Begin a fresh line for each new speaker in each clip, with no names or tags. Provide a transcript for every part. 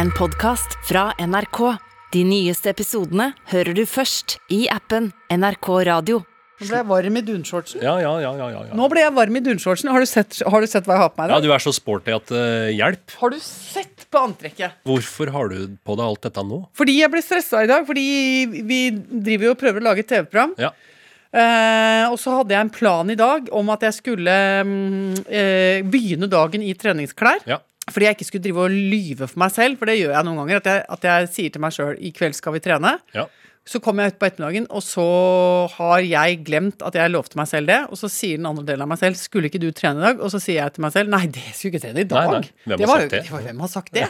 En podcast fra NRK. De nyeste episodene hører du først i appen NRK Radio.
Nå ble jeg varm i dunshortsen.
Ja, ja, ja. ja, ja, ja.
Nå ble jeg varm i dunshortsen. Har, du sett- har du sett hva jeg har på meg?
ja
Da?
du er så sporty at eh, Hjelp!
Har du sett på antrekket?
Hvorfor har du på deg alt dette nå?
Fordi jeg ble stressa i dag, fordi vi driver jo og prøver å lage et TV-program.
Ja.
Eh, og så hadde jeg en plan i dag om at jeg skulle mm, eh, begynne dagen i treningsklær.
ja.
Fordi jeg ikke skulle drive og lyve for meg selv, for det gjør jeg noen ganger. At jeg, at jeg sier til meg sjøl 'i kveld skal vi trene'.
ja.
Så kommer jeg ut på ettermiddagen, og så har jeg glemt at jeg lovte meg selv det. Og så sier den andre delen av meg selv 'skulle ikke du trene i dag?' Og så sier jeg til meg selv 'nei, det skulle jeg ikke trene i dag'.
Nei, nei. Hvem
det
har
var,
sagt det?
det var, hvem har sagt det?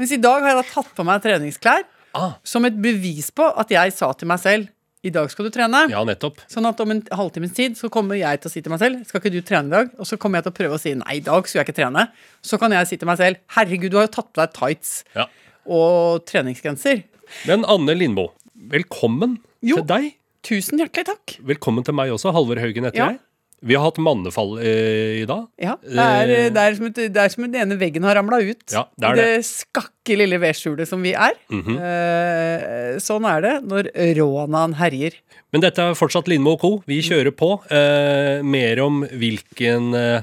Mens i dag har jeg da tatt på meg treningsklær
Ah.
som et bevis på at jeg sa til meg selv 'i dag skal du trene'.
ja, nettopp.
Sånn at om en halvtimes tid så kommer jeg til å si til meg selv Skal ikke du trene i dag? Og så kommer jeg til å prøve å si nei, i dag skulle jeg ikke trene. Så kan jeg si til meg selv herregud, du har jo tatt på deg tights
Ja.
og treningsgenser.
Men Anne Lindmo, velkommen
Jo.
til deg.
Tusen hjertelig takk.
Velkommen til meg også, Halvor Haugen heter
Ja.
jeg. Vi har hatt mannefall eh, i dag.
Ja, det er,
Eh.
det er, som, et, det er som den ene veggen har ramla ut.
Ja, det Mhm. er
I det skakke lille vedskjulet som vi er. Eh, sånn er det når rånaen herjer.
Men dette er fortsatt Lindmo og co. Vi kjører på. Eh, mer om hvilken eh,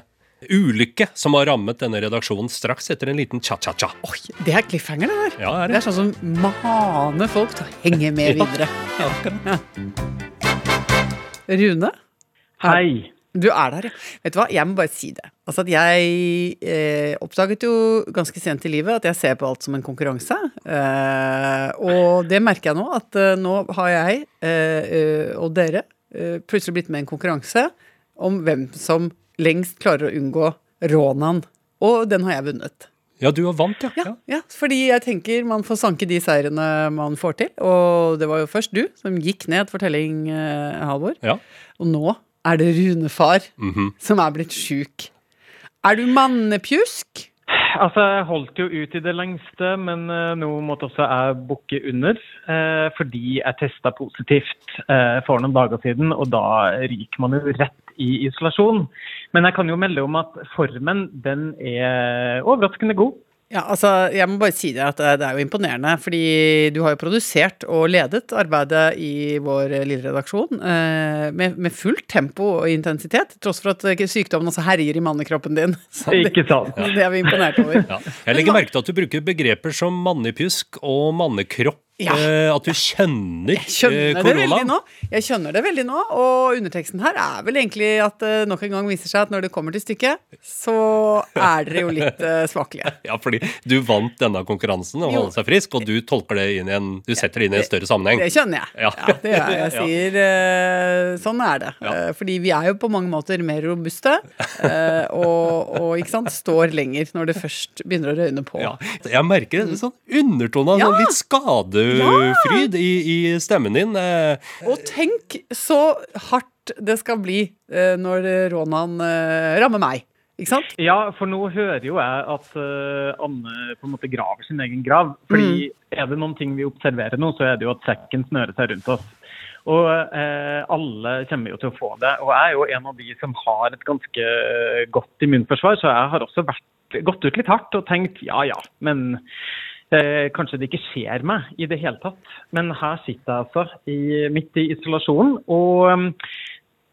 ulykke som har rammet denne redaksjonen straks etter en liten cha-cha-cha.
Oi, det er cliffhanger, det der.
Ja, er
Det
det.
er sånn som maner folk til å henge med videre. Ja. Rune?
Hei.
Du er der, ja. Vet du hva, jeg må bare si det. Altså at jeg eh, oppdaget jo ganske sent i livet at jeg ser på alt som en konkurranse. Eh, og det merker jeg nå, at eh, nå har jeg eh, eh, og dere eh, plutselig blitt med i en konkurranse om hvem som lengst klarer å unngå rånaen. Og den har jeg vunnet.
Ja, du har vant, ja.
Ja, ja, fordi jeg tenker man får sanke de seirene man får til. Og det var jo først du som gikk ned for telling, eh, Halvor.
ja.
Og nå er det Runefar som er blitt sjuk. Er du mannepjusk?
Altså, jeg holdt jo ut i det lengste, men eh, nå måtte også jeg bukke under. Eh, fordi jeg testa positivt eh, for noen dager siden, og da ryker man jo rett i isolasjon. Men jeg kan jo melde om at formen, den er overraskende god.
Ja, altså, jeg må bare si det at det er jo imponerende, fordi du har jo produsert og ledet arbeidet i vår lille redaksjon eh, med, med fullt tempo og intensitet, til tross for at eh, sykdommen også herjer i mannekroppen din. Så det,
Ikke sant?
det er vi imponert over.
Ja. Jeg legger merke til at du bruker begreper som mannepjusk og mannekropp.
Ja.
eh, At du kjenner, eh,
skjønner det veldig
koronaen.
nå. Jeg skjønner det veldig nå, og underteksten her er vel egentlig at det nok en gang viser seg at når det kommer til stykket, så er dere jo litt eh, svakelige.
Ja, fordi du vant denne konkurransen og
Jo.
holdt seg frisk, og du tolker det inn i en Du setter det inn i en større sammenheng.
Det skjønner jeg. Ja.
Ja.
det gjør jeg. Jeg sier eh, sånn er det.
Ja.
Eh, fordi vi er jo på mange måter mer robuste eh, og, og ikke sant, står lenger når det først begynner å røyne på.
Ja, jeg merker en sånn undertone av sånn
Mm. Ja.
litt skadefryd i, i stemmen din. eh.
Og tenk så hardt det skal bli eh, når rånaen eh, rammer meg. Ikke sant?
Ja, for nå hører jo jeg at eh, Anne på en måte graver sin egen grav. Fordi er det noen ting vi observerer nå, så er det jo at sekken snører seg rundt oss. Og eh, alle kommer jo til å få det. Og jeg er jo en av de som har et ganske godt immunforsvar, så jeg har også vært, gått ut litt hardt og tenkt ja ja, men eh, kanskje det ikke skjer meg i det hele tatt. Men her sitter jeg altså i, midt i isolasjon, og eh,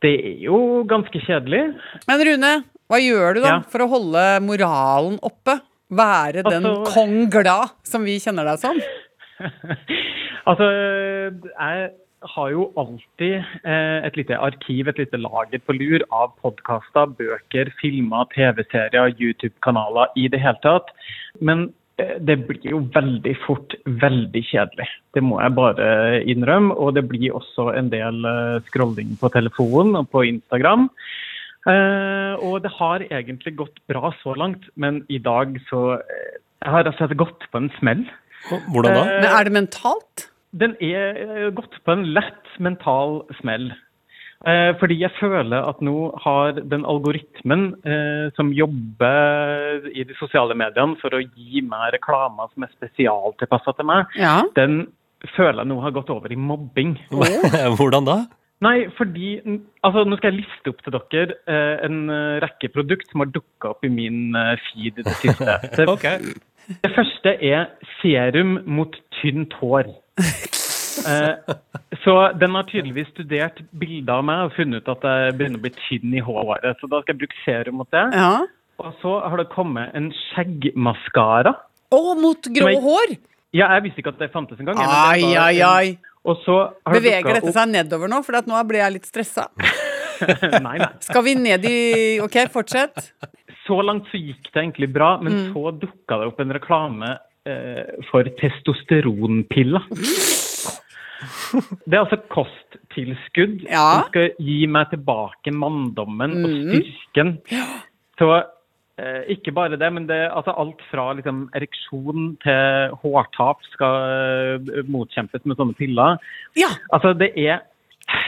det er jo ganske kjedelig.
Men Rune, hva gjør du da
Ja.
for å holde moralen oppe? Være den
Altså-
kong glad som vi kjenner deg som?
Eh. Altså, jeg har jo alltid eh, et lite arkiv, et lite lager på lur av podkaster, bøker, filmer, TV-serier, YouTube-kanaler, i det hele tatt. Men eh, det blir jo veldig fort veldig kjedelig. Det må jeg bare innrømme. Og det blir også en del eh, scrolling på telefonen og på Instagram. Eh, og det har egentlig gått bra så langt, men i dag så eh, Jeg har rett og slett gått på en smell.
Hvordan da?
Men er det mentalt?
Den er eh, gått på en lett mental smell. Eh, fordi jeg føler at nå har den algoritmen eh, som jobber i de sosiale mediene for å gi meg reklamer som er spesialtilpassa til meg,
Ja.
den føler jeg nå har gått over i mobbing.
Hvordan da?
Nei, fordi altså, Nå skal jeg liste opp til dere eh, en eh, rekke produkt som har dukka opp i min eh, feed i det siste. Det,
Ok.
det første er serum mot tynt hår. Eh, så den har tydeligvis studert bilder av meg og funnet ut at jeg begynner å bli tynn i håret. Så da skal jeg bruke serum mot det.
Ja.
Og så har det kommet en skjeggmaskara.
Og mot grå
Men-
hår!
Ja, jeg visste ikke at det fantes engang. jeg, men det
Ai,
var
ai,
en-
ai.
Og så har det
Beveger
dukket
dette seg nedover nå? For at nå ble jeg litt stressa.
opp- Nei, nei.
Skal vi ned i Ok, fortsett.
Så langt så gikk det egentlig bra, men så dukka det opp en reklame eh, for testosteronpiller. Det er altså kosttilskudd
Ja.
som skal gi meg tilbake manndommen og styrken. Så eh, ikke bare det, men det, altså alt fra liksom, ereksjon til hårtap skal eh, motkjempes med sånne piller.
Ja.
Altså, det er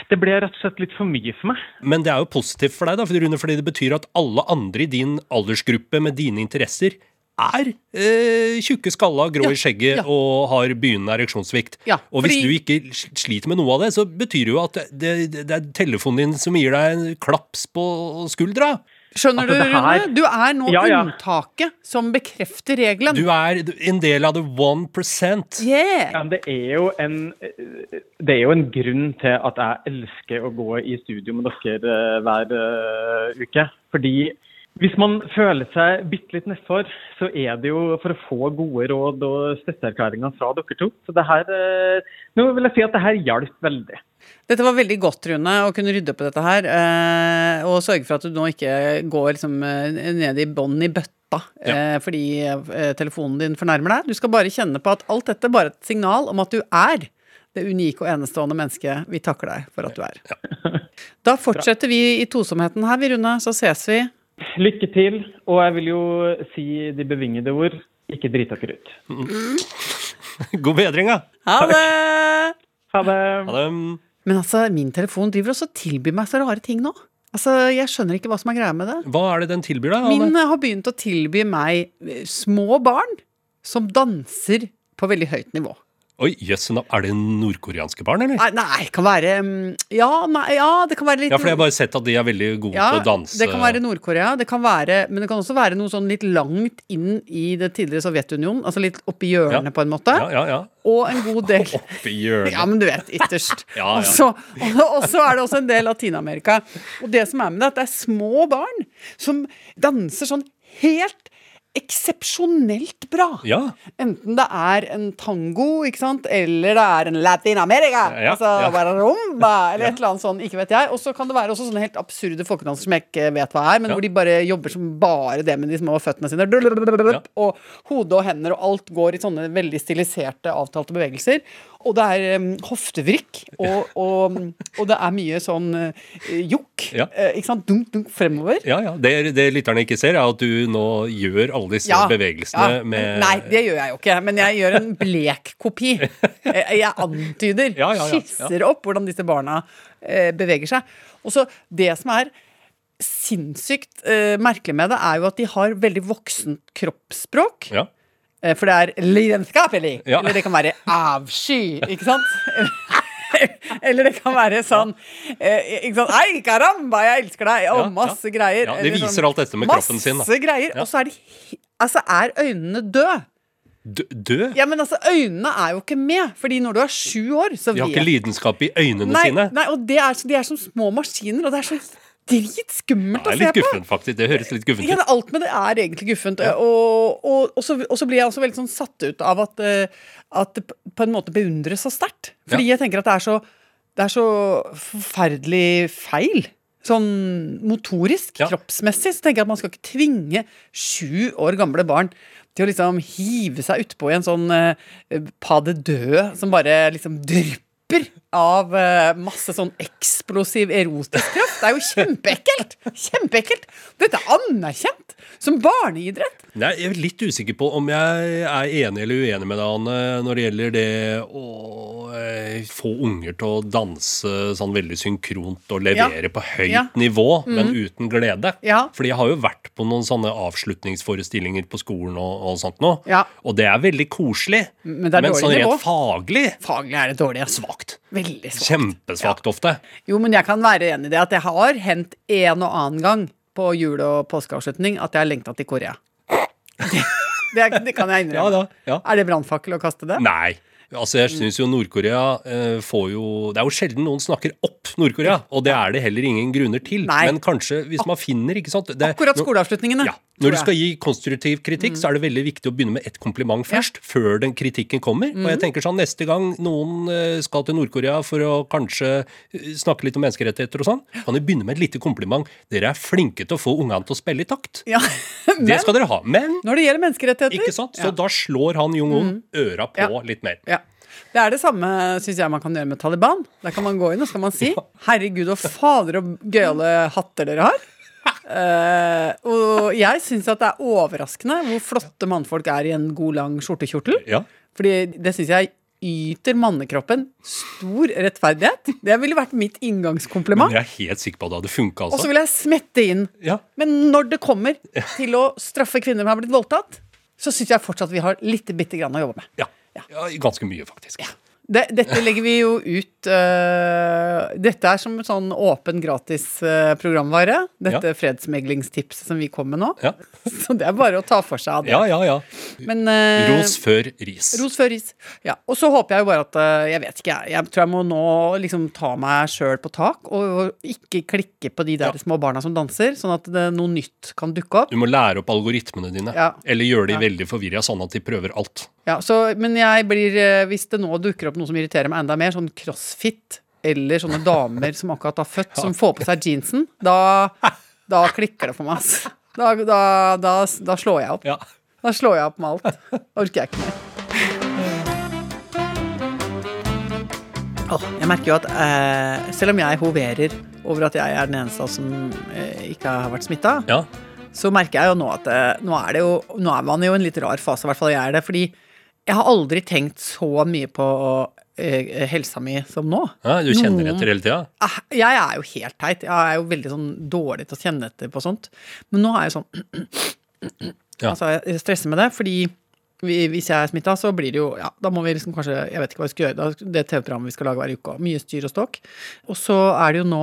Det ble rett og slett litt for mye for meg.
Men det er jo positivt for deg, da, for Rune, fordi det betyr at alle andre i din aldersgruppe med dine interesser er eh, tjukke, skalla, grå i skjegget
ja.
og har begynnende ereksjonssvikt.
Ja,
og hvis
fordi-
du ikke sl- sliter med noe av det, så betyr det jo at det, det, det er telefonen din som gir deg en klaps på skuldra.
Skjønner
Altså,
du,
det her-
Rune? Du er nå
Ja, ja.
unntaket som bekrefter regelen.
Du er en del av the one percent.
Yeah.
Ja, men det er, jo en, det er jo en grunn til at jeg elsker å gå i studio med dere eh, hver eh, uke. Fordi hvis man føler seg bitte litt nedfor, så er det jo for å få gode råd og støtteerklæringer fra dere to. Så det her eh, Nå vil jeg si at det her hjalp veldig.
Dette var veldig godt, Rune, å kunne rydde opp i dette her. eh, Og sørge for at du nå ikke går liksom eh, ned i bånn i bøtta eh, fordi eh, telefonen din fornærmer deg. Du skal bare kjenne på at alt dette bare er et signal om at du er det unike og enestående mennesket vi takker deg for at du er. Da fortsetter vi i tosomheten her, vi, Rune. Så ses vi.
Lykke til. Og jeg vil jo si de bevingede ord. Ikke drit dere ut.
God bedring, da.
Ha det!
Ha det.
Ha det.
Men altså, min telefon driver også og tilbyr meg så rare ting nå. Altså, Jeg skjønner ikke hva som er greia med det.
Hva er det den tilbyr deg? Anne?
Min eh, har begynt å tilby meg eh, små barn som danser på veldig høyt nivå.
Oi, jøss, nå- er det nordkoreanske barn, eller?
Nei, nei kan være mm, Ja, nei, ja, det kan være litt
Ja, for jeg har bare sett at de er veldig gode
Ja,
til å danse.
Det kan være Nord-Korea, det kan være, men det kan også være noe sånn litt langt inn i det tidligere Sovjetunionen. Altså litt oppi hjørnet,
Ja.
på en måte.
Ja, ja, ja.
Og en god del
Oppi hjørnet.
Ja, men du vet, ytterst.
Ja, ja.
Og så- Og og så er det også en del Latin-Amerika. Og det som er med det, er at det er små barn som danser sånn helt eksepsjonelt bra.
Ja.
Enten det er en tango, ikke sant, eller det er en Latin-America.
Ja, ja,
altså
ja.
bare rumba, eller et eller annet sånn, ikke vet jeg. Og så kan det være også sånne helt absurde folkedanser som jeg ikke vet hva er, men
Ja.
hvor de bare jobber som bare det med de små føttene sine. Og hodet og hender og alt går i sånne veldig stiliserte, avtalte bevegelser. Og det er em, hoftevrikk, og, og, og det er mye sånn eh, jokk.
Ja.
eh, ikke sant? Dunk, dunk fremover.
ja, ja. Det, det lytterne ikke ser, er at du nå gjør alle disse bevegelsene
ja.
med
Nei, det gjør jeg jo ikke. Men jeg gjør en blek kopi. Eh, Jeg antyder,
Ja, ja, ja, ja.
skisser opp hvordan disse barna eh, beveger seg. Og så det som er sinnssykt eh, merkelig med det, er jo at de har veldig voksent kroppsspråk.
Ja.
Eh, For det er lidenskapelig.
Ja.
Eller det kan være avsky, ikke sant? Eller det kan være sånn eh, ikke sant? Hei, caramba, jeg elsker deg! Og
Ja, ja.
masse greier.
Ja, de
Eller sånn,
viser alt dette med kroppen sin, da.
Masse greier.
Ja.
Og så er de he- Altså, er øynene døde?
Dø- Død?
Ja, men altså, øynene er jo ikke med. Fordi når du er sju år, så
De har ikke lidenskap i øynene
nei,
sine.
nei, og det er, så, de er som små maskiner, og det er så dritskummelt
Det
å
er
se
litt
på.
guffent, faktisk. Det høres litt guffent
Ja,
ut.
det, alt med det er egentlig guffent. Og, og, og, så, og så blir jeg også veldig sånn satt ut av at, eh, at det p- på en måte beundres så sterkt. Fordi jeg tenker at det er så, det er så forferdelig feil. Sånn motorisk,
Ja.
kroppsmessig. Så tenker jeg at man skal ikke tvinge sju år gamle barn til å liksom hive seg utpå i en sånn eh, pas de deux som bare liksom drypper av eh, masse sånn eksplosiv erotisk kraft. Det er jo kjempeekkelt! Kjempeekkelt! Dette er anerkjent som barneidrett.
Nei, jeg er litt usikker på om jeg er enig eller uenig med deg, Anne, når det gjelder det å eh, få unger til å danse sånn veldig synkront og levere på høyt
Ja. Mhm.
nivå, men uten glede.
Ja.
Fordi jeg har jo vært på noen sånne avslutningsforestillinger på skolen og, og sånt nå,
Ja.
og det er veldig koselig,
men det er dårlig
sånn rent
nivå.
faglig
Faglig er det dårlig. ass.
svakt.
Veldig svakt.
Kjempesvakt ofte.
Jo, men jeg kan være enig i det at det har hendt en og annen gang på jule- og påskeavslutning at jeg har lengta til Korea. Det, Det, er, det kan jeg
Ja
innrømme.
da. Ja.
Er det brannfakkel å kaste det?
Nei. Altså,
Mm.
jeg syns jo Nord-Korea eh, får jo Det er jo sjelden noen snakker opp Nord-Korea, og det er det heller ingen grunner til.
Nei.
Men kanskje, hvis man finner ikke sant? Det,
Akkurat
når-
skoleavslutningene.
eh, Ja. Når du
tror jeg. Mm.
skal gi konstruktiv kritikk, så er det veldig viktig å begynne med ett kompliment først, før den kritikken kommer. Og
Mm.
jeg tenker sånn, neste gang noen eh, skal til Nord-Korea for å kanskje eh, snakke litt om menneskerettigheter og sånn, kan de begynne med et lite kompliment. Dere er flinke til å få ungene til å spille i takt.
Ja,
Det skal dere ha. Men,
Når det gjelder menneskerettigheter
ikke sant? Så
ja. Mm.
da slår han Jong-un øra på
Ja.
litt mer.
Ja. Det er det samme synes jeg man kan gjøre med Taliban. Der kan man gå inn og skal man si 'herregud og fader og gøyale hatter dere har'. Eh, og jeg syns at det er overraskende hvor flotte mannfolk er i en god, lang skjortekjortel.
Ja.
Fordi det syns jeg yter mannekroppen stor rettferdighet. Det ville vært mitt
Men
inngangskompliment.
jeg er helt sikker på at det hadde funka,
Og så
altså.
vil jeg smette inn.
Ja.
Men når det kommer til å straffe kvinner som har blitt voldtatt, så syns jeg fortsatt vi har litt bitte grann å jobbe med.
Ja. ja. Ganske mye, faktisk.
Det, dette legger vi jo ut øh, Dette er som en sånn åpen, gratis øh, programvare. Dette
Ja.
fredsmeglingstipset som vi kom med nå.
Ja,
Så det er bare å ta for seg av det.
ja, ja. ja.
Men, øh,
Ros før ris.
Ros før ris. Ja. Og så håper jeg jo bare at øh, Jeg vet ikke, jeg. Jeg tror jeg må nå liksom ta meg sjøl på tak og, og ikke klikke på de der
Ja.
små barna som danser, sånn at det, noe nytt kan dukke opp.
Du må lære opp algoritmene dine.
Ja.
Eller gjøre de
Ja.
veldig forvirra, sånn at de prøver alt.
Ja, så, men jeg blir, eh, hvis det nå dukker opp noe som irriterer meg enda mer, sånn crossfit, eller sånne damer som akkurat har født, som får på seg jeansen, da, da klikker det for meg, ass. Da, da, da, da slår jeg opp.
Ja.
Da slår jeg opp med alt. Orker jeg ikke mer. Åh, jeg merker jo at eh, selv om jeg hoverer over at jeg er den eneste av oss som eh, ikke har vært smitta,
Ja.
så merker jeg jo nå at eh, nå er, det jo, nå er man jo i en litt rar fase, i hvert fall jeg er det, fordi jeg har aldri tenkt så mye på eh, helsa mi som nå.
ja du kjenner
Noen-
etter hele tida?
Ah, Jeg er jo helt teit. Jeg er jo veldig sånn dårlig til å kjenne etter på sånt. Men nå er jeg sånn
Ja.
Altså, jeg stresser med det, fordi vi- hvis jeg er smitta, så blir det jo Ja, da må vi liksom kanskje Jeg vet ikke hva vi skal gjøre. da- Det TV-programmet vi skal lage hver uke, og mye styr og ståk. Og så er det jo nå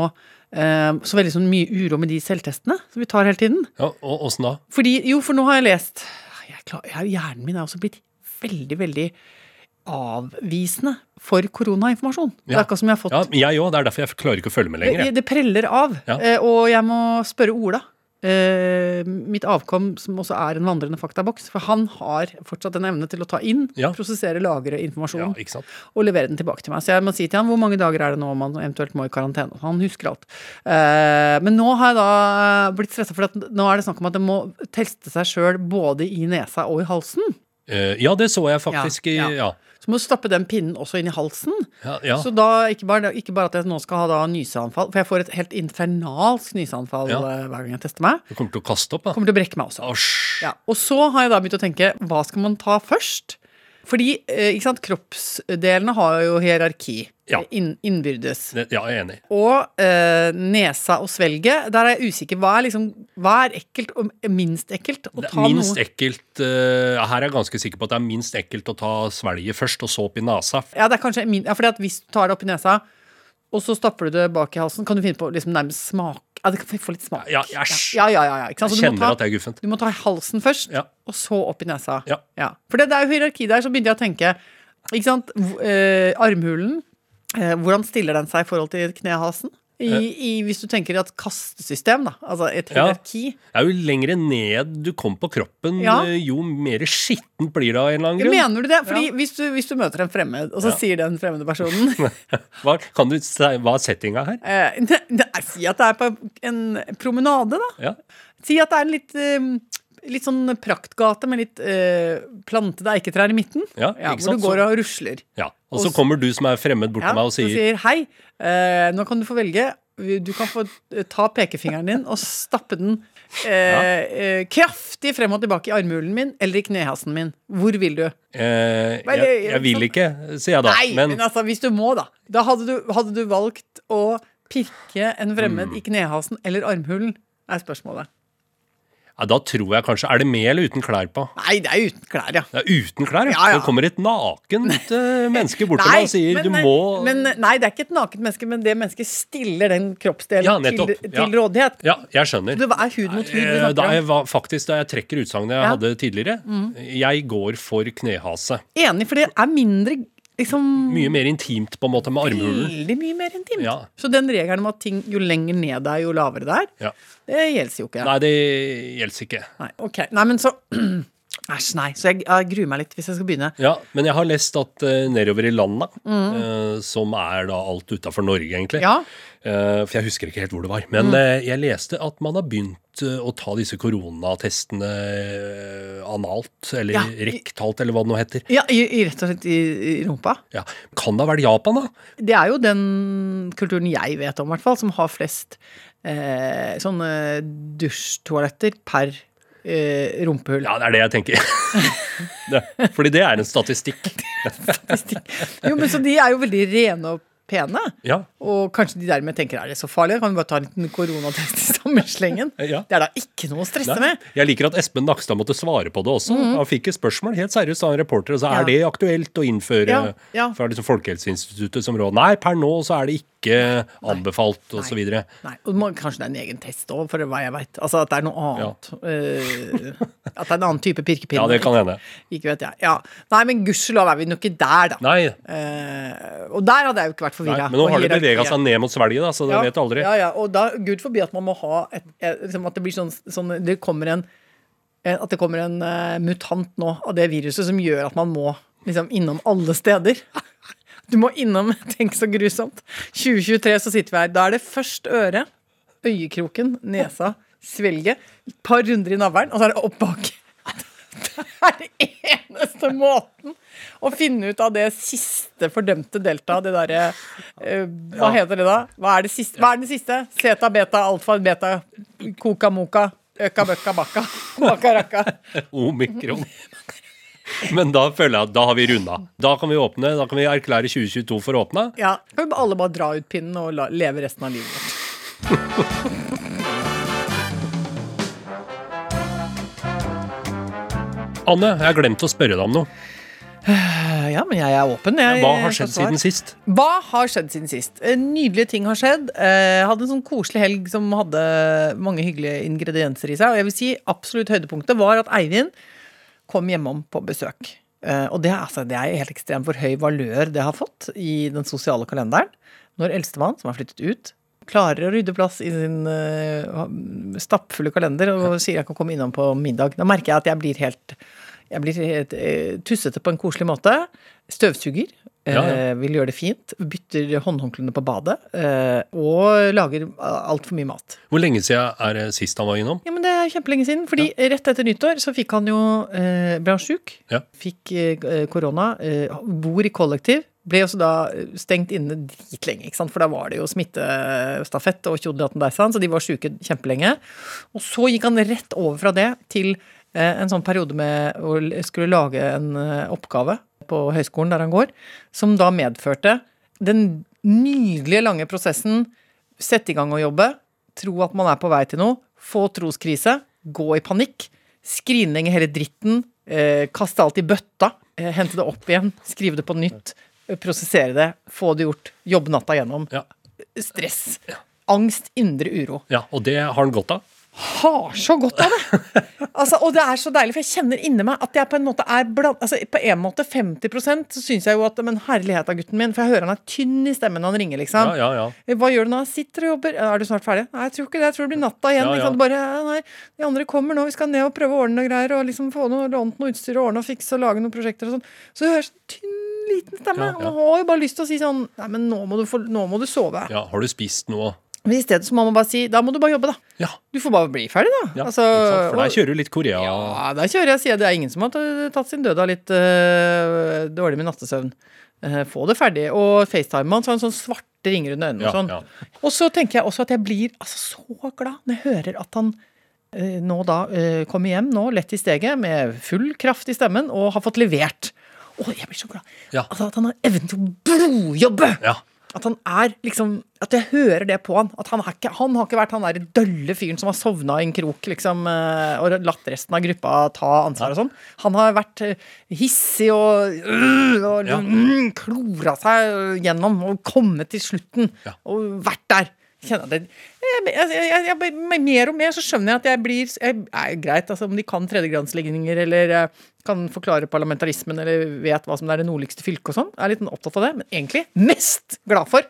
eh, så veldig sånn mye uro med de selvtestene som vi tar hele tiden.
Ja, og åssen da?
Fordi, jo, for nå har jeg lest jeg er klar, jeg, Hjernen min er også blitt veldig, veldig avvisende for koronainformasjon. Det
Ja.
er akkurat som jeg har fått
Ja, men jeg òg. Det er derfor jeg klarer ikke å følge med lenger.
det,
jeg.
det preller av.
Ja.
Eh, Og jeg må spørre Ola. eh, mitt avkom, som også er en vandrende faktaboks. For han har fortsatt en evne til å ta inn,
Ja.
prosessere, lagre
Ja,
informasjon
ikke sant?
og levere den tilbake til meg. Så jeg må si til han hvor mange dager er det nå man eventuelt må i karantene. Han husker alt. Eh, men nå har jeg da eh, blitt stressa, for at nå er det snakk om at det må teste seg sjøl både i nesa og i halsen.
Eh, ja, det så jeg faktisk i
Ja,
Ja.
ja. Så må du stappe den pinnen også inn i halsen.
Ja, ja.
Så da, ikke bare, ikke bare at jeg nå skal ha da nyseanfall, for jeg får et helt infernalsk nyseanfall
Ja.
eh, hver gang jeg tester meg.
Du kommer til å kaste opp, da.
Kommer til å brekke meg også.
Asj.
Ja. Og så har jeg da begynt å tenke, hva skal man ta først? Fordi eh, ikke sant, kroppsdelene har jo hierarki
Ja.
eh, inn, innbyrdes.
Det- Ja, jeg er enig.
Og eh, nesa og svelget, der er jeg usikker. Hva er, liksom, hva er ekkelt og minst ekkelt? Å
Det er
ta
minst
noe
ekkelt eh, Her er jeg ganske sikker på at det er minst ekkelt å ta svelget først, og så opp i nesa.
Ja, det er kanskje min, ja, fordi at hvis du tar det opp i nesa, og så stapper du det bak i halsen, kan du finne på liksom nærmest smak Ja, det kan få litt smak.
Ja, ja, æsj.
Ja, ja, ja, ja, ikke sant? Så
Jeg
du må ta-
kjenner at det er guffent.
Du må ta i halsen først,
Ja.
og så opp i nesa.
Ja.
For det, det er jo hierarki der, så begynte jeg å tenke ikke sant? Hvor- Eh, armhulen, eh, hvordan stiller den seg i forhold til knehasen? I, i, hvis du tenker at kastesystem, da, altså et
Ja.
hierarki.
Det er jo lengre ned du kommer på kroppen,
Ja.
eh, jo mer skittent blir det av en eller annen grunn.
Mener du det? Fordi hvis, du, hvis du møter en fremmed, og så
Ja.
sier den fremmede personen
Hva, kan du, si- hva er settinga her?
eh, ne, ne, Si at det er på en promenade, da.
Ja.
Si at det er en litt, eh, litt sånn praktgate med litt eh, plantede eiketrær i midten.
Ja, ikke
hvor
sant?
du går
Så-
og rusler.
Ja, Og så kommer du som er fremmed bort til meg og
så
sier
hei, eh, nå kan du få velge. Du kan få eh, ta pekefingeren din og stappe den eh, eh, kraftig frem og tilbake i armhulen min eller i knehasen min. Hvor vil du?
eh,
Vel,
jeg, jeg vil ikke, sier jeg da.
sånn- Nei, men,
Men
altså, hvis du må, da. Da hadde du, hadde du valgt Mm. å pirke en fremmed i knehasen eller armhulen, er spørsmålet.
Ja, da tror jeg kanskje Er det med eller uten klær på?
Nei, det er uten klær, ja.
Det er uten klær, ja.
Ja, ja.
Så kommer et nakent eh, menneske bort til deg og sier du må
men, Nei, det er ikke et nakent menneske, men det mennesket stiller den kroppsdelen
Ja,
til,
nettopp.
til
Ja.
rådighet.
Ja, jeg skjønner.
Det er hud mot hud. liksom. vi
Eh,
snakker
Da
om.
jeg var, faktisk, da jeg trekker utsagnet jeg
Ja. Mm.
hadde tidligere, jeg går for knehase.
Enig, for det er mindre liksom,
Mye mer intimt på en måte med armhulen.
Veldig mye mer intimt.
Mm. Ja.
Så den regelen om at ting jo lenger ned det er, jo lavere det er,
Ja.
det gjelder jo ikke.
Nei, det gjelder ikke.
Nei, ok. Nei, men så Æsj, nei. Så jeg, jeg gruer meg litt hvis jeg skal begynne.
Ja, Men jeg har lest at eh, nedover i landa, eh, som er da alt utafor Norge, egentlig
Mm. Ja. Mm.
eh, For jeg husker ikke helt hvor det var. Men eh, jeg leste at man har begynt eh, å ta disse koronatestene eh, analt, eller
Ja.
rektalt, eller hva det nå heter.
Ja, i, i, rett og slett i, i rumpa.
Ja. Kan det ha vært Japan, da?
Det er jo den kulturen jeg vet om, i hvert fall, som har flest eh, sånne dusjtoaletter per eh, rumpehull.
Ja, det er det jeg tenker. det, fordi det er en statistikk.
Jo, men Så de er jo veldig rene og pene.
Ja.
Og kanskje de dermed tenker er det så farlig, kan vi bare ta en liten koronatest i samme slengen.
Ja.
Det er da ikke noe å stresse
Nei,
med.
jeg liker at Espen Nakstad måtte svare på det også. Han fikk et spørsmål helt seriøst av en reporter. Altså,
Mhm. Ja.
Er det aktuelt å innføre
Ja, ja.
fra liksom Folkehelseinstituttet som råd? Nei, per nå så er det ikke anbefalt, og så videre.
Nei, og man, Kanskje det er en egen test òg, for hva jeg veit. Altså at det er noe annet. eh, at det er en annen type pirkepinne.
Ja, det kan hende.
Ikke vet jeg. Ja. Nei, men gudskjelov er vi nå ikke der, da.
Nei,
Eh, og der hadde jeg jo ikke vært
nei
forvirra.
men nå har det bevega seg ned mot Sverige, da, så det
Ja,
vet du aldri.
Ja, ja, og da, gud forbi at man må ha et, eh, liksom At det blir sånn, sånn Det kommer en eh, At det kommer en eh, mutant nå av det viruset som gjør at man må liksom innom alle steder. Du må innom Tenk så grusomt. 2023 så sitter vi her. Da er det først øret, øyekroken, nesa, svelget, et par runder i navlen, og så er det opp bak. Det er den eneste måten å finne ut av det siste fordømte delta, det derre eh, Hva heter det da? Hva er det siste? Hva er den siste? Zeta, beta, alfa, beta, koka, moka, øka, bøkka, bakka, baka, rakka.
Omikron. Oh, Men da føler jeg at da har vi runda. Da kan vi åpne, da kan vi erklære 2022 for åpna.
Ja. Kan vi alle bare dra ut pinnen og la, leve resten av livet vårt?
Anne, jeg har glemt å spørre deg om noe.
Eh, Ja, men jeg er åpen. Jeg,
Hva har skjedd siden sist?
Hva har skjedd siden sist? Eh, Nydelige ting har skjedd. Eh, hadde en sånn koselig helg som hadde mange hyggelige ingredienser i seg. Og jeg vil si absolutt høydepunktet var at Eivind kom hjemom på besøk. Eh, og det er, altså, det er helt ekstremt hvor høy valør det har fått i den sosiale kalenderen. Når eldstemann, som har flyttet ut, klarer å rydde plass i sin eh, stappfulle kalender og sier jeg kan komme innom på middag. Da merker jeg at jeg blir helt jeg blir helt, eh, tussete på en koselig måte. Støvsuger. eh,
Ja, ja.
Vil gjøre det fint. Bytter håndhåndklærne på badet. eh, og lager altfor mye mat.
Hvor lenge siden er det sist han var innom?
Ja, men Det er kjempelenge siden. fordi rett etter nyttår så fikk han jo eh, ble han sjuk.
Ja.
Fikk eh, korona. Eh, bor i kollektiv. Ble også da eh, stengt inne dritlenge, ikke sant? for da var det jo smittestafett og tjodelatten deisan, så de var sjuke kjempelenge. Og så gikk han rett over fra det til eh, en sånn periode med å l- skulle lage en eh, oppgave på høyskolen der han går, som da medførte den nydelige lange prosessen sette i gang og jobbe, tro at man er på vei til noe, få troskrise, gå i panikk, skrinlegge hele dritten, eh, kaste alt i bøtta, eh, hente det opp igjen, skrive det på nytt, eh, prosessere det, få det gjort, jobbe natta gjennom.
Ja.
Stress. Angst, indre uro
Ja, og det har han godt av.
har så godt av det. Altså, og det er så deilig, for jeg kjenner inni meg at jeg på en måte er blant, altså, På en måte 50 så syns jeg jo at Men herlighet av gutten min, for jeg hører han er tynn i stemmen når han ringer, liksom.
Ja, ja, ja.
Hva gjør du nå? Sitter og jobber. Er du snart ferdig? Nei, jeg tror ikke det. Jeg tror det blir natta igjen.
Ja, ja.
Ikke sant? Bare, ja, nei, de andre kommer nå. Vi skal ned og prøve å ordne noe greier. Og liksom få noe, lånt noe utstyr og ordne og fikse og lage noen prosjekter og sånn. Så du hører sånn tynn, liten stemme.
Ja, ja.
Og man har jo bare lyst til å si sånn Nei, men nå må du, få, nå må du sove.
Ja, har du spist noe?
Men i stedet så må man bare si Da må du bare jobbe, da.
Ja,
Du får bare bli ferdig, da.
ja
Altså,
ikke sant? for
og-
der kjører du litt Korea.
ja, der kjører jeg sier det er ingen som har ta- tatt sin død av litt øh, dårlig med nattesøvn. Eh, få det ferdig. Og FaceTime-en, så har han sånn svarte ringer under øynene.
Ja,
og sånn.
ja.
Og så tenker jeg også at jeg blir altså, så glad når jeg hører at han eh, nå da eh, kommer hjem nå, lett i steget, med full kraft i stemmen, og har fått levert. Å, jeg blir så glad.
Ja.
Altså, at han har evnen til å blodjobbe!
Ja.
At han er liksom At jeg hører det på han. At han, er ikke, han har ikke vært han der dølle fyren som har sovna i en krok liksom, eh, og latt resten av gruppa ta ansvar og sånn. Han har vært eh, hissig og, øh, og
Ja.
mm, klora seg gjennom og kommet til slutten
Ja.
og vært der. Kjenner jeg det. Jeg, jeg, jeg, jeg, bare- mer og mer så skjønner jeg at jeg blir jeg, er Greit, altså, om de kan tredjegradsligninger eller eh, kan forklare parlamentarismen eller vet hva som er det nordligste fylket og sånn, er litt opptatt av det, men egentlig mest glad for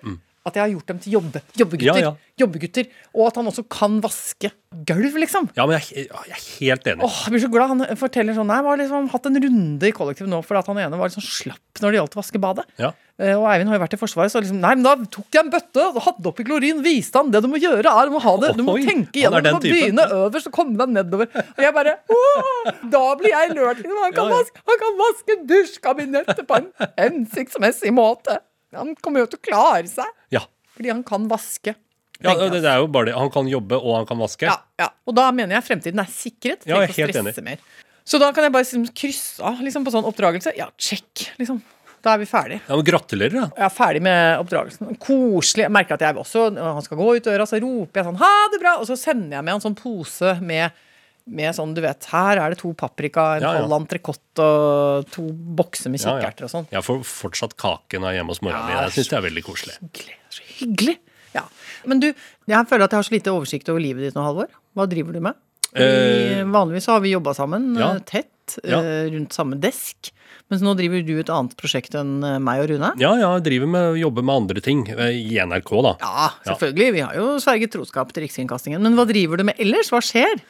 at jeg har gjort dem til jobbe, jobbegutter.
Mm. Ja, ja.
jobbegutter. Og at han også kan vaske gulv, liksom.
Ja, men jeg, er he- ja, jeg er helt enig.
Åh, jeg blir så glad. Han forteller sånn Nei, jeg har liksom hatt en runde i kollektivet nå fordi at han ene var liksom slapp når det gjaldt å vaske badet.
Ja.
Eh, Og Eivind har jo vært i Forsvaret, så liksom Nei, men da tok jeg en bøtte, og hadde oppi klorin, viste han det du må gjøre, er du må ha det. Du må
Oi,
tenke
han
igjennom,
er
du
den
må
typen.
begynne øverst og komme deg nedover. Og jeg bare «Åh, Da blir jeg lurt. liksom. Han kan
Ja, ja.
vaske, han kan vaske dusjkabinettet på en hensiktsmessig måte. Han kommer jo til å klare seg.
Ja.
Fordi han kan vaske.
ja
tenker jeg.
det, det er jo bare det. Han kan jobbe, og han kan vaske.
Ja, ja. Og da mener jeg fremtiden er sikret.
Ja,
Trenger
jeg
ikke
er
å
helt
stresse mer. Så da kan jeg bare liksom krysse av liksom, på sånn oppdragelse. Ja, check, liksom. Da er vi ferdig.
Ja, men Gratulerer, da.
Jeg er ferdig med oppdragelsen. Koselig. Jeg merker at jeg også, når han skal gå ut døra, så roper jeg sånn ha det bra, og så sender jeg med en sånn pose med, med sånn, du vet, her er det to paprika, en
Ja, ja.
halv entrecôte og to bokser med
Ja, ja.
kikkerter og sånn.
Jeg får fortsatt kaken av hjemme hos mora mi. Jeg syns det er veldig koselig.
Hyggelig. Så hyggelig. Ja. Men du, jeg føler at jeg har så lite oversikt over livet ditt nå, Halvor. Hva driver du med? Fordi
Eh,
vanligvis så har vi jobba sammen
ja.
eh, tett, eh,
Ja.
rundt samme desk. Mens nå driver du et annet prosjekt enn eh, meg og Rune.
Ja, ja, jeg driver med jobber med andre ting eh, i NRK, da.
Ja, selvfølgelig. Vi har jo sverget troskap til Rikskringkastingen. Men hva driver du med ellers? Hva skjer?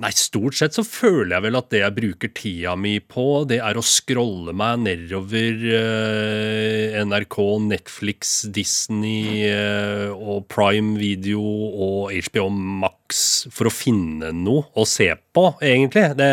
Nei, stort sett så føler jeg vel at det jeg bruker tida mi på, det er å scrolle meg nedover eh, NRK, Netflix, Disney eh, og Prime Video og HBO Max for å finne noe å se på, egentlig. Det,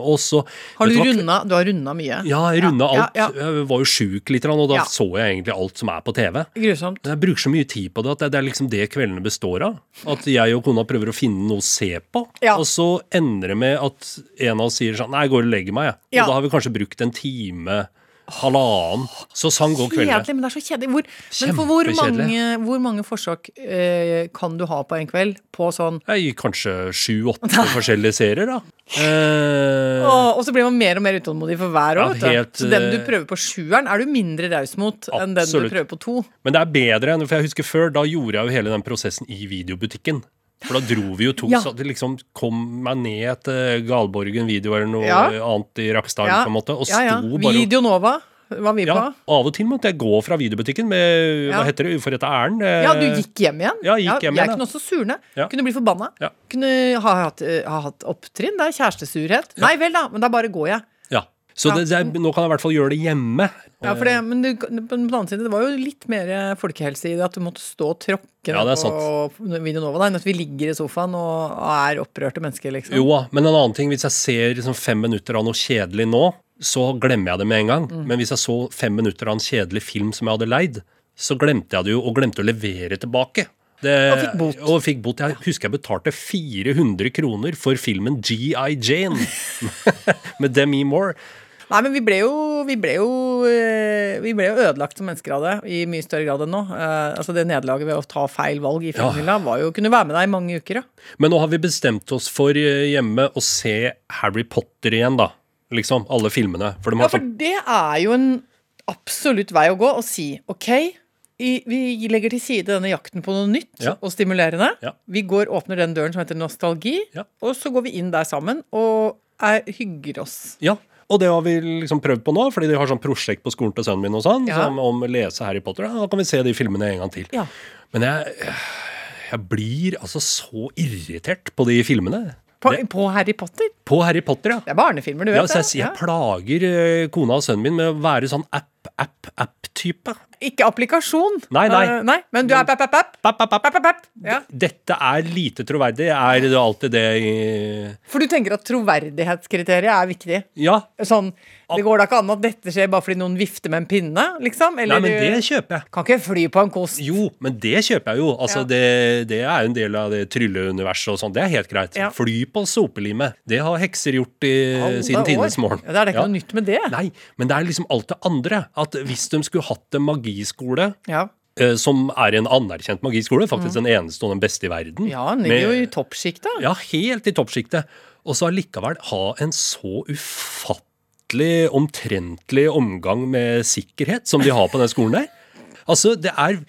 og så
Har
Vet
du
hva?
runda? Du har runda mye.
Ja, jeg runda
Ja,
alt.
ja,
Jeg var jo sjuk litt, og da
Ja.
så jeg egentlig alt som er på TV.
Grusomt.
Jeg bruker så mye tid på det at det- det er liksom det kveldene består av. At jeg og kona prøver å finne noe å se på,
Ja.
og så ender det med at en av oss sier sånn Nei, jeg går og legger meg, jeg.
Ja.
Og da har vi kanskje brukt en time, halvannen. Så sånn går kveldene.
Kjedelig, men det er så kjedelig. Hvor, men for hvor
Kjempekjedelig.
mange, hvor mange forsøk eh, kan du ha på en kveld på sånn
Jeg gir kanskje sju-åtte forskjellige serier, da. Eh,
Åh, og så blir man mer og mer utålmodig for hver
Ja,
år. vet
helt,
du. så den du
eh,
prøver på sjueren, er du mindre raus mot enn den du
Absolutt.
prøver på to.
men det er bedre enn For jeg husker før, da gjorde jeg jo hele den prosessen i videobutikken. For da dro vi jo to,
Ja.
så det liksom kom meg ned til Galborgen video eller noe
Ja.
annet i Rakkestad,
Ja,
på en måte, og
ja, ja.
sto bare og
Video Nova var vi
Ja,
på.
av og til måtte jeg gå fra videobutikken med
Ja.
hva heter det, uforretta ærend. eh,
Ja, du gikk hjem igjen?
Ja, jeg gikk hjem igjen,
Jeg kunne også surne.
Ja.
Kunne bli forbanna.
Ja.
Kunne ha hatt, eh, ha hatt opptrinn. Det er kjærestesurhet. Nei vel, da, men da bare går jeg.
Ja. Så
Ja.
Det, det er, nå kan jeg i hvert fall gjøre det hjemme.
Ja, for det, men du, på den annen side, det var jo litt mer eh, folkehelse i det at du måtte stå og tråkke
Ja, det er
på Videonova. da, enn at vi ligger i sofaen og er opprørte mennesker, liksom.
Jo da, men en annen ting, hvis jeg ser liksom fem minutter av noe kjedelig nå, så glemmer jeg det med en gang.
Mm.
Men hvis jeg så fem minutter av en kjedelig film som jeg hadde leid, så glemte jeg det jo, og glemte å levere tilbake. Det,
Og fikk bot.
Og fikk bot. Jeg husker jeg betalte 400 kroner for filmen G.I. Jane med Demi Moore.
Nei, men vi ble jo, vi ble jo, eh, vi ble jo ødelagt som mennesker av det, i mye større grad enn nå. Eh, altså Det nederlaget ved å ta feil valg i filmhylla var jo å kunne være med deg i mange uker, ja.
Men nå har vi bestemt oss for eh, hjemme å se Harry Potter igjen, da. Liksom, alle filmene. For de
Ja,
har
for
sånn
det er jo en absolutt vei å gå og si OK, i, vi legger til side denne jakten på noe nytt
Ja.
og stimulerende.
Ja.
Vi går åpner den døren som heter nostalgi,
Ja.
og så går vi inn der sammen og er, hygger oss.
Ja. Og det har vi liksom prøvd på nå, fordi de har sånn prosjekt på skolen til sønnen min og sånn,
Ja.
som om å lese Harry Potter. Ja, Da kan vi se de filmene en gang til.
Ja.
Men jeg, jeg blir altså så irritert på de filmene.
På,
Det,
på Harry Potter.
på Harry Potter, ja.
Det er barnefilmer, du vet
Ja, så
det.
jeg, jeg
Ja.
plager eh, kona og sønnen min med å være sånn app, app, app-type.
Ikke applikasjon.
Nei, nei.
Eh, nei. Men du er pep, pep, pep.
App, app, app.
Pep, pep, pep. Ja.
Dette er lite troverdig. Er det alltid det i-
For du tenker at troverdighetskriteriet er viktig?
Ja,
Sånn, Det går da ikke an at dette skjer bare fordi noen vifter med en pinne? liksom?
Nei,
Eller
men det
du
kjøper jeg.
kan ikke fly på en kost.
Jo, men det kjøper jeg jo. Altså,
Ja.
det, det er jo en del av det trylleuniverset og sånn. Det er helt greit.
Ja.
Fly på sopelimet. Det har hekser gjort i,
Alle
siden
år.
tidenes morgen.
Ja, det er da ikke
Ja.
noe nytt med det.
Nei, men det er liksom alt det andre. At hvis de skulle hatt en magi- magiskole
Ja.
eh, som er en anerkjent magiskole, faktisk den eneste og den beste i verden.
Mm. ja, han ligger jo
med-
i toppsjiktet.
ja, helt i toppsjiktet. Og så allikevel ha en så ufattelig omtrentlig omgang med sikkerhet som de har på den skolen der. Altså, det er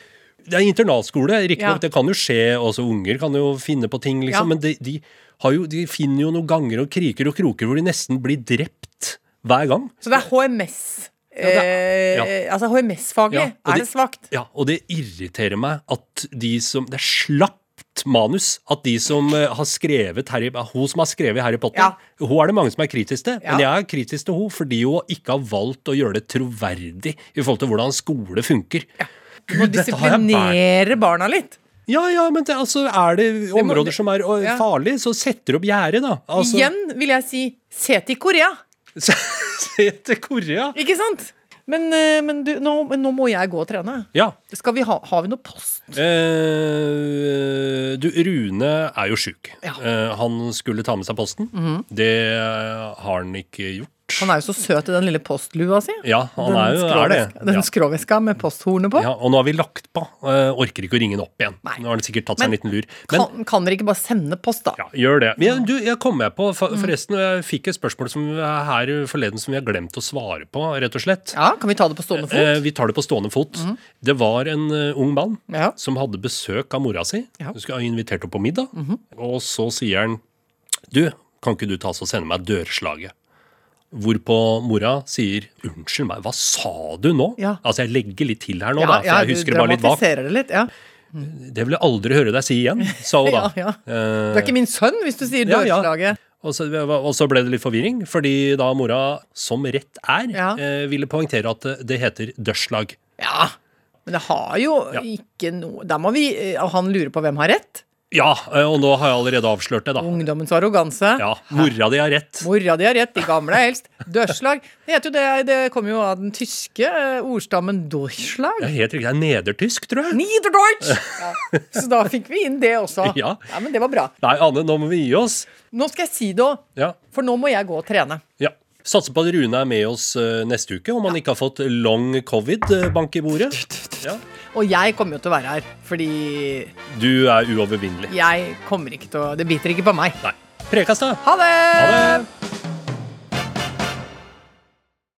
det er internatskole,
Ja.
riktignok. Det kan jo skje. altså Unger kan jo finne på ting,
Ja.
liksom. Men de, de, har jo, de finner jo noen ganger og kriker og kroker hvor de nesten blir drept hver gang.
Så det er HMS. Eh, Altså HMS-faglig
Ja, og
er
de-
det svakt.
Ja, og det irriterer meg at de som Det er slapt manus at de som eh, har skrevet Harry, hun som har skrevet Harry Potter
Ja.
Hun er det mange som er kritisk til,
Ja.
men jeg er kritisk til hun fordi hun ikke har valgt å gjøre det troverdig i forhold til hvordan skole funker.
Du må
Gud, dette har jeg vært
disiplinere barna litt.
Ja, ja, men det, altså, er det områder som er å,
Ja.
farlige, så setter opp gjerde, da. Altså,
Igjen vil jeg si se til Korea,
Se til Korea.
ikke sant? Men, eh, men du, nå, men nå må jeg gå og trene.
Ja.
Skal vi ha, har vi noe post?
Eh, du, Rune er jo sjuk.
Ja. Mhm.
Eh, han skulle ta med seg posten. Det eh, har han ikke gjort.
Han er jo så søt i den lille postlua si.
Ja, han
Den
er jo er det.
skråveska- Den
Ja.
skråveska med posthornet på.
Ja, og nå har vi lagt på. Eh, orker ikke å ringe han opp igjen.
Nei.
Nå har han sikkert tatt seg en
Men-
liten lur. Men
Kan, kan dere ikke bare sende post, da?
ja, gjør det. Men jeg, du, jeg kom med på,
Mhm.
for, forresten, jeg fikk et spørsmål som er her forleden som vi har glemt å svare på, rett og slett.
Ja, Kan vi ta det på stående fot? Mhm.
Eh, vi tar det på stående fot. Det var en eh, ung mann
Ja.
som hadde besøk av mora si.
Ja. Mhm.
Hun skulle ha invitert henne på middag. Og så sier han Du, kan ikke du ta oss og sende meg dørslaget? Hvorpå mora sier Unnskyld meg, hva sa du nå?
Ja.
Altså, jeg legger litt til her nå, da, for jeg
du
husker det bare litt vagt.
dramatiserer det litt. Ja.
Det vil jeg aldri høre deg si igjen, sa hun da.
Ja, ja.
Eh,
Du er ikke min sønn hvis du sier
Ja, ja.
dørslaget.
Og så, og så ble det litt forvirring, fordi da mora, som rett er,
Ja.
eh, ville poengtere at det- det heter dørslag.
Ja, men det har jo
Ja.
ikke noe Da må vi eh, Han lurer på hvem har rett.
Ja, eh, og nå har jeg allerede avslørt det, da.
Ungdommens arroganse.
Ja, mora di har rett.
Mora di har rett, de gamle er eldst. Dørslag. Det, heter jo det, det kommer jo av den tyske eh, ordstammen
Det er
Dorslag.
helt riktig. Det er nedertysk, tror jeg.
Niederdeutsch! Ja. Så da fikk vi inn det også.
Ja.
Men det var bra.
Nei, Anne, nå må vi gi oss.
Nå skal jeg si det òg,
Ja.
for nå må jeg gå og trene.
ja. Satser på at Rune er med oss eh, neste uke, om han ikke har fått long covid eh, bank i bordet. Ja.
Og jeg kommer jo til å være her, fordi
Du er uovervinnelig.
jeg kommer ikke til å Det biter ikke på meg.
Nei. Prekastad!
Ha det!
Ha det!